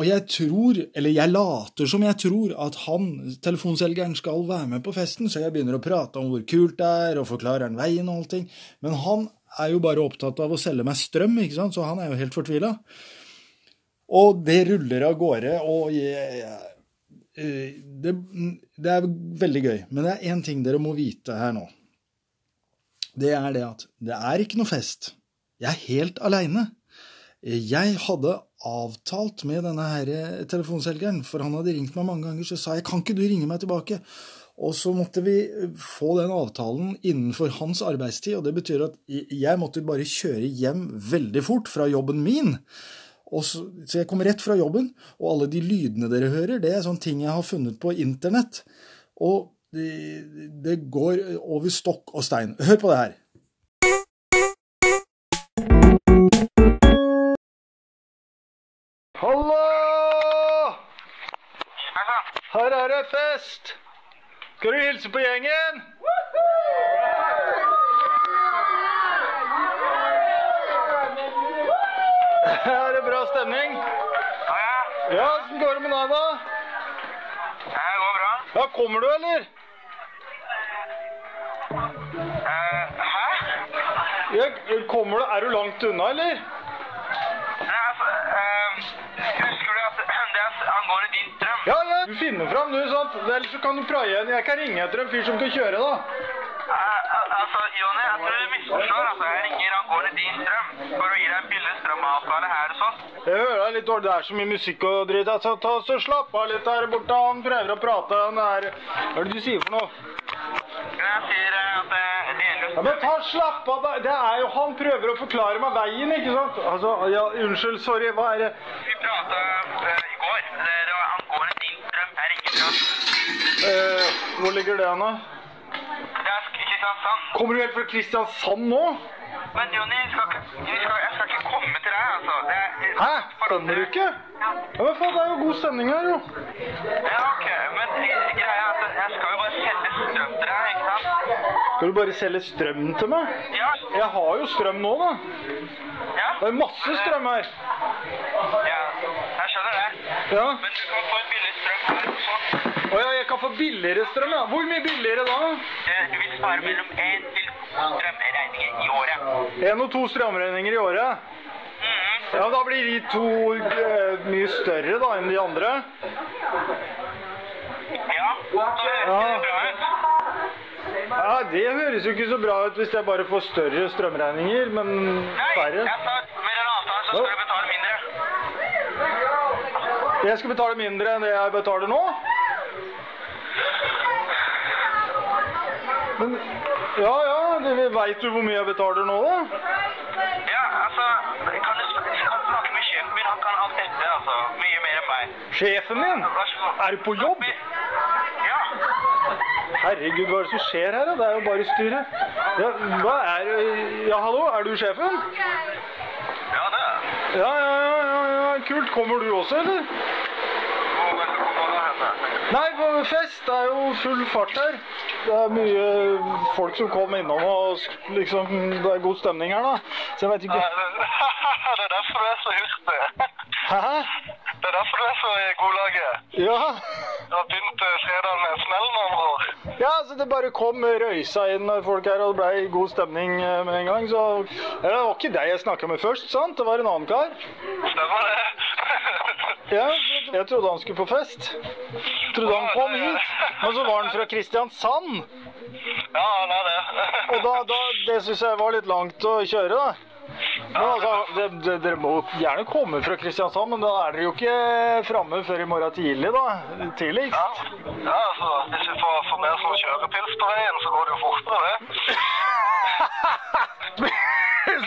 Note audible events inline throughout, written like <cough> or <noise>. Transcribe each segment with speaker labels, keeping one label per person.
Speaker 1: Og jeg tror, eller jeg later som jeg tror, at han, telefonselgeren skal være med på festen, så jeg begynner å prate om hvor kult det er, og forklarer han veien og allting. Men han er jo bare opptatt av å selge meg strøm, ikke sant, så han er jo helt fortvila. Og det ruller av gårde, og jeg, Eh, det, det er veldig gøy, men det er én ting dere må vite her nå. Det er det at det er ikke noe fest. Jeg er helt aleine. Jeg hadde avtalt med denne her eh, telefonselgeren, for han hadde ringt meg mange ganger, så sa jeg kan ikke du ringe meg tilbake? Og så måtte vi eh, få den avtalen innenfor hans arbeidstid, og det betyr at jeg måtte bare kjøre hjem veldig fort fra jobben min. Og så, så jeg kom rett fra jobben, og alle de lydene dere hører, det er sånne ting jeg har funnet på internett. Og det, det går over stokk og stein. Hør på det her.
Speaker 2: Hallo! Her er det fest! Skal du hilse på gjengen? Er det bra stemning? Ja, åssen går det med deg, da?
Speaker 3: Det går bra.
Speaker 2: Ja, kommer du, eller?
Speaker 3: Eh, hæ?
Speaker 2: Ja, kommer du? Er du langt unna, eller?
Speaker 3: Nei, altså, eh, husker du at det er angående din strøm?
Speaker 2: Ja, ja. Du finner fram, du, sant? Ellers så kan du praie igjen. Jeg kan ringe etter en fyr som kan kjøre, da.
Speaker 3: Eh, al- altså, Jonny, jeg tror du misforstår. Altså, jeg ringer angående din strøm for å gi deg en billig strømavtale her og sånn.
Speaker 2: Jeg hører deg litt dårlig, det er så mye musikk og dritt. Altså, ta så Slapp av litt her borte, han prøver å prate. Han er... Hva er det du sier for
Speaker 3: Men
Speaker 2: noe?
Speaker 3: jeg sier eh, at eh, det gjelder
Speaker 2: Ja, men ta slapp av, da. det er jo han prøver å forklare meg veien, ikke sant? Altså, ja, unnskyld, sorry, hva er det?
Speaker 3: Vi prata eh, i går. Det, det var angående din strøm. Jeg ringer fra
Speaker 2: Eh, hvor ligger det nå?
Speaker 3: Det er Kristiansand.
Speaker 2: Kommer du helt fra Kristiansand nå?
Speaker 3: Men Jonny, jeg, skal ikke- vi skal- jeg skal ikke komme til deg, altså. Det er,
Speaker 2: Hæ? Skjønner du ikke? Ja, men faen, det er jo god stemning her, jo.
Speaker 3: Ja, ok, men greia er at jeg skal jo bare selge strøm til deg, ikke sant?
Speaker 2: Skal du bare selge strøm til meg?
Speaker 3: Ja.
Speaker 2: Jeg har jo strøm nå, da.
Speaker 3: ja.
Speaker 2: Det er masse strøm her.
Speaker 3: Ja, jeg skjønner det.
Speaker 2: Ja.
Speaker 3: Men du kan få en billig strøm her også.
Speaker 2: Å ja, jeg kan få billigere strøm, ja. Hvor mye billigere da?
Speaker 3: Eh, Du vil spare mellom én til to strømregninger i året.
Speaker 2: En og to strømregninger i året.
Speaker 3: Mhm.
Speaker 2: Ja, da blir de to eh, mye større da enn de andre.
Speaker 3: Ja, så høres
Speaker 2: Ja.
Speaker 3: det bra ut.
Speaker 2: Ja, Det høres jo ikke så bra ut hvis jeg bare får større strømregninger, men
Speaker 3: Nei,
Speaker 2: færre.
Speaker 3: jeg sa med den avtalen så skal du betale mindre.
Speaker 2: Jeg skal betale mindre enn det jeg betaler nå. Men Ja ja, veit du hvor mye jeg betaler nå, da?
Speaker 3: Ja, altså, kan du, kan du snakke med sjefen min? Han kan alt dette, altså. Mye mer enn meg.
Speaker 2: Sjefen min?
Speaker 3: Vær så god.
Speaker 2: Er du på jobb?
Speaker 3: Ja.
Speaker 2: Herregud, hva er det som skjer her? da? Det er jo bare styret. Ja, hva er Ja, hallo, er du sjefen?
Speaker 3: Ja, det.
Speaker 2: Ja, ja, ja, ja, ja, kult. Kommer du også, eller?
Speaker 3: Å, vær så god, hva da, Henrik?
Speaker 2: Nei, på fest det er jo full fart her. Det er mye folk som kommer innom, og sk- liksom, det er god stemning her, da. Så jeg veit
Speaker 3: Det
Speaker 2: ikke
Speaker 3: <laughs> er derfor du er så hurtig.
Speaker 2: Hæ?
Speaker 3: Det er derfor du er så i godlaget.
Speaker 2: Ja.
Speaker 3: Du har begynt eh, fredagen med en smell, med andre ord.
Speaker 2: ja, så det bare kom røysa inn folk her, og det blei god stemning eh, med en gang. Så ja, det var ikke deg jeg snakka med først, sant? Det var en annen kar.
Speaker 3: Stemmer det? <laughs>
Speaker 2: Ja, jeg trodde han skulle på fest. Trodde han kom hit, men så var han fra Kristiansand.
Speaker 3: Ja, han er det. <laughs>
Speaker 2: Og da, da, det syns jeg var litt langt å kjøre, da. Men altså, det, det, Dere må gjerne komme fra Kristiansand, men da er dere jo ikke framme før i morgen tidlig, da.
Speaker 3: Ja,
Speaker 2: <laughs> Tidligst.
Speaker 3: ja altså, hvis vi får, får mer som kjørepils på veien, så går det jo fortere, det. Ja, Kan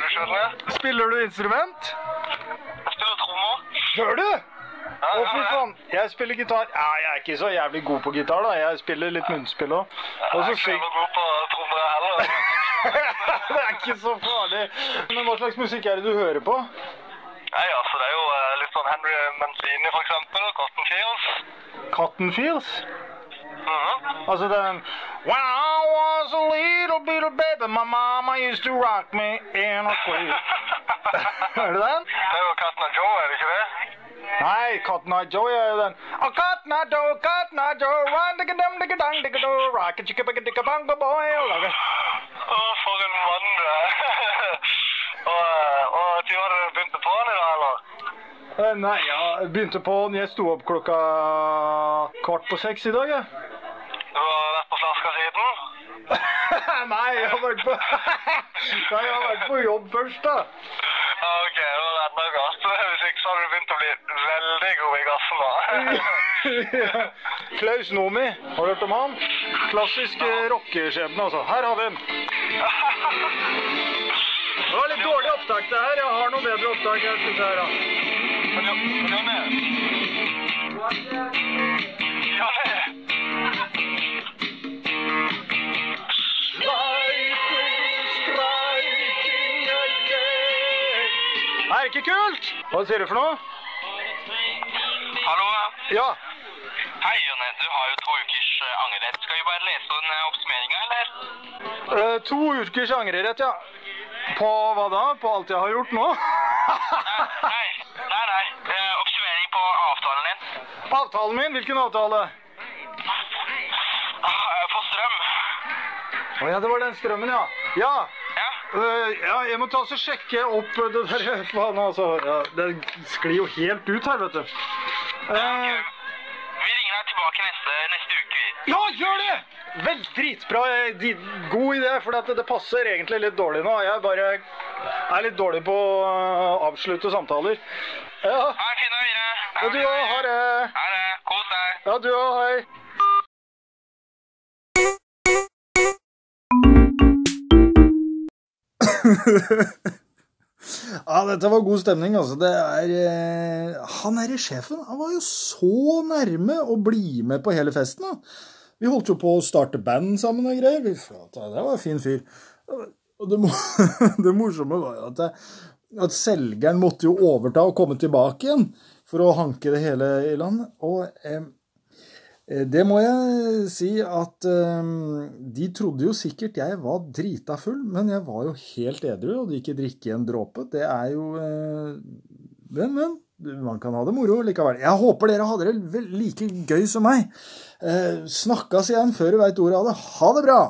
Speaker 3: du skjønne?
Speaker 2: Spiller du instrument?
Speaker 3: Jeg spiller trommer.
Speaker 2: Gjør du? Å, fy faen. Jeg spiller gitar. Ja, jeg er ikke så jævlig god på gitar, da. Jeg spiller litt munnspill òg. Og så syng...
Speaker 3: god på trommer heller. <laughs>
Speaker 2: <laughs> det er ikke så farlig. Men hva slags musikk er det du hører på?
Speaker 3: Nei, altså, det er jo eh, litt sånn Henry Mancini, for eksempel. Cotton Fields.
Speaker 2: Cotton Fields?
Speaker 3: Mhm.
Speaker 2: Altså den When I was a little little baby, my mama used to rock me in a queen. <laughs> Hører du den?
Speaker 3: Det er jo Cotton Eye Joe, er det ikke det?
Speaker 2: Nei, Cotton Eye Joe er jo den. Oh, Cotton Eye Joe, Cotton Eye Joe, run digga dum digga dung digga do, rock a chicka bigga digga bongo boy.
Speaker 3: Å, for en mann du er. <laughs> og, eh, og til var det du begynte på han i dag, eller?
Speaker 2: Eh, Nei, jeg begynte på den. Jeg sto opp klokka kvart på seks i dag, jeg. <laughs>
Speaker 3: Du har vært på flaska siden?
Speaker 2: Nei, jeg har vært på <laughs> Nei, jeg har vært på jobb først, da. <laughs>
Speaker 3: Ja, ok, det var enda gass. <laughs> Hvis ikke så hadde du begynt å bli veldig god i gassen da. <laughs>
Speaker 2: Klaus Nomi, har du hørt om han? Klassisk eh, rockeskjebne, altså. Her har vi den. <laughs> Det var litt dårlig opptak, det her. Jeg har noe bedre opptak. Jeg synes her, da.
Speaker 3: Men Jo- men Jonny? Jonny?
Speaker 2: Er ikke kult? Hva sier du for noe?
Speaker 3: <laughs> Hallo?
Speaker 2: Ja.
Speaker 3: Hei, Jonny. Du har jo to ukers eh, angrerett. Skal vi bare lese den eh, oppsummeringen, eller?
Speaker 2: eh, to ukers angrerett, ja. På hva da? På alt jeg har gjort nå? <laughs>
Speaker 3: Nei, nei, nei. Eh, Oppsummering på avtalen din.
Speaker 2: Avtalen min? Hvilken avtale?
Speaker 3: Ah, eh, På strøm.
Speaker 2: Å ja, det var den strømmen, ja. Ja.
Speaker 3: Ja?
Speaker 2: øh, ja, jeg må ta og sjekke opp øh, det der <laughs> faen, altså. Ja, det sklir jo helt ut her, vet du. Eh,
Speaker 3: Vi ringer deg tilbake neste, neste uke. vi.
Speaker 2: ja, gjør det! Vel, dritbra. eh, di- God idé, for at det passer egentlig litt dårlig nå. Jeg bare er litt dårlig på å øh, avslutte samtaler. Ja,
Speaker 3: Ha en fin dag videre.
Speaker 2: og du òg. Ha det.
Speaker 3: Ha det. Kos deg.
Speaker 2: Ja, du òg. Hei.
Speaker 1: Ja, dette var god stemning, altså. Det er eh, Han derre sjefen, han var jo så nærme å bli med på hele festen, da. Vi holdt jo på å starte band sammen og greier. Vi flata, det var en fin fyr. Og det, mo- <laughs> det morsomme var jo at, eh, det- at selgeren måtte jo overta og komme tilbake igjen for å hanke det hele i land. Og eh, Eh, Det må jeg si at eh, de trodde jo sikkert jeg var drita full, men jeg var jo helt edru og hadde ikke drikke en dråpe. Det er jo eh, Men, men. Man kan ha det moro likevel. Jeg håper dere hadde det vel like gøy som meg. Eh, Snakkes igjen før du veit ordet av det. Ha det bra!